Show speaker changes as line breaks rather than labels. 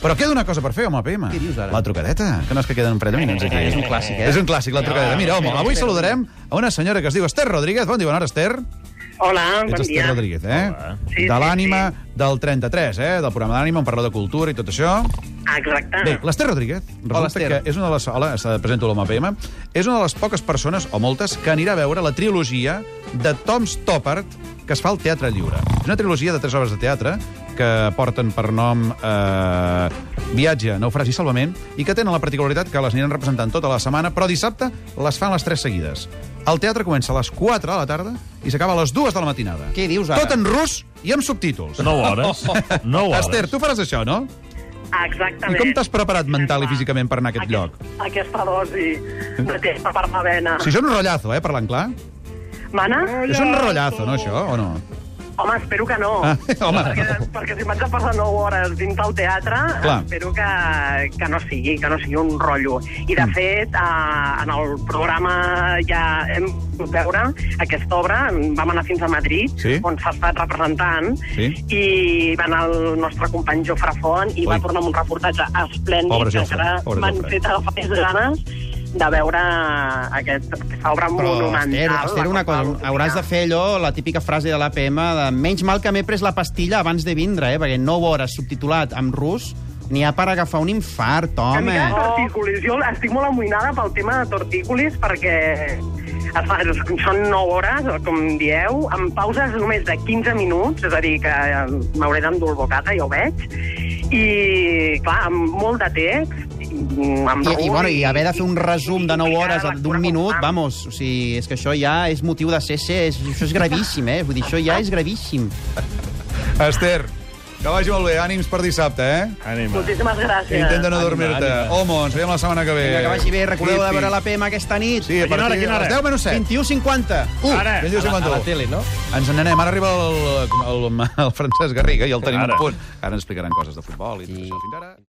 Però queda una cosa per fer, home, PM.
Què dius ara?
La trucadeta, que no és que queden un parell de minuts aquí.
És un clàssic, eh?
És un clàssic, la trucadeta. Mira, home, avui saludarem a una senyora que es diu Esther Rodríguez. Bon dia, bona hora, Esther.
Hola, bon
Ets Esther
dia.
Rodríguez, eh?
Sí,
de
sí,
l'ànima del 33, eh? Del programa d'ànima, on parla de cultura i tot això.
Exacte.
Bé, l'Ester Rodríguez, resulta
Esther.
que és una de les... Hola, se presento l'home PM. És una de les poques persones, o moltes, que anirà a veure la trilogia de Tom Stoppard que es fa al Teatre Lliure. És una trilogia de tres obres de teatre que porten per nom eh, Viatge, Naufragi i Salvament i que tenen la particularitat que les aniran representant tota la setmana, però dissabte les fan les tres seguides. El teatre comença a les 4 de la tarda i s'acaba a les 2 de la matinada.
Què dius ara?
Tot en rus i amb subtítols.
9 hores. 9 hores.
Esther, tu faràs això, no? I
Exactament.
com t'has preparat mental i físicament per anar a aquest
Aquest-
lloc?
Aquesta dosi de testa per la vena.
Si això és un rotllazo, eh, parlant clar.
Mana?
És un rotllazo, no, això, o no?
Home, espero que no.
Ah, home.
Perquè, perquè si m'haig de passar 9 hores dins del teatre,
Clar.
espero que, que no sigui, que no sigui un rotllo.
Mm.
I, de fet, eh, en el programa ja hem pogut veure aquesta obra, vam anar fins a Madrid,
Sí.
on s'ha estat representant,
Sí.
i va anar el nostre company Jofre Font i
Ui.
va tornar amb un reportatge esplèndid,
Pobre
que
Jofre, pobre
encara m'han
Jofre.
fet agafar més ganes de veure aquest, aquesta obra
Però,
monumental.
Esther, Esther,
la
una
qual
cosa,
cal
hauràs de fer allò, la típica frase de l'APM, de menys mal que m'he pres la pastilla abans de vindre, eh? perquè 9 hores subtitulat en rus, n'hi ha per agafar un infart,
A mi
home.
cada tortícolis, jo estic molt amoïnada pel tema de tortícolis perquè es fa- es- són 9 hores, com dieu, amb pauses només de 15 minuts, és a dir, que eh, m'hauré d'endur el bocata, ja ho veig, i, clar, amb molt de text, i, mm, amb
I, i, bueno, I haver de fer un resum de 9
i- i
hores
la lectura
d'un minut,
constant.
vamos, o sigui, és que això ja és motiu de CC, és, això és gravíssim, eh? Vull dir, això ja és gravíssim.
Esther, que vagi molt bé. Ànims per dissabte, eh?
Ànima.
Moltíssimes gràcies.
Intenta no
Ànima,
dormir-te.
ànima.
Homo, ens veiem la setmana que ve.
Vinga, que vagi bé, recordeu de
Creepy.
veure l'APM aquesta nit.
Sí, a
Quina hora,
partir de
quina hora?
les 10 menys 7.
21.50. Uh,
Ara,
Bendiu,
a la, a la
Simantó.
tele, no?
Ens n'anem. Ara arriba el, el, el Francesc Garriga i el tenim
Ara.
a punt. Ara ens explicaran coses de futbol i tot això. Fins ara.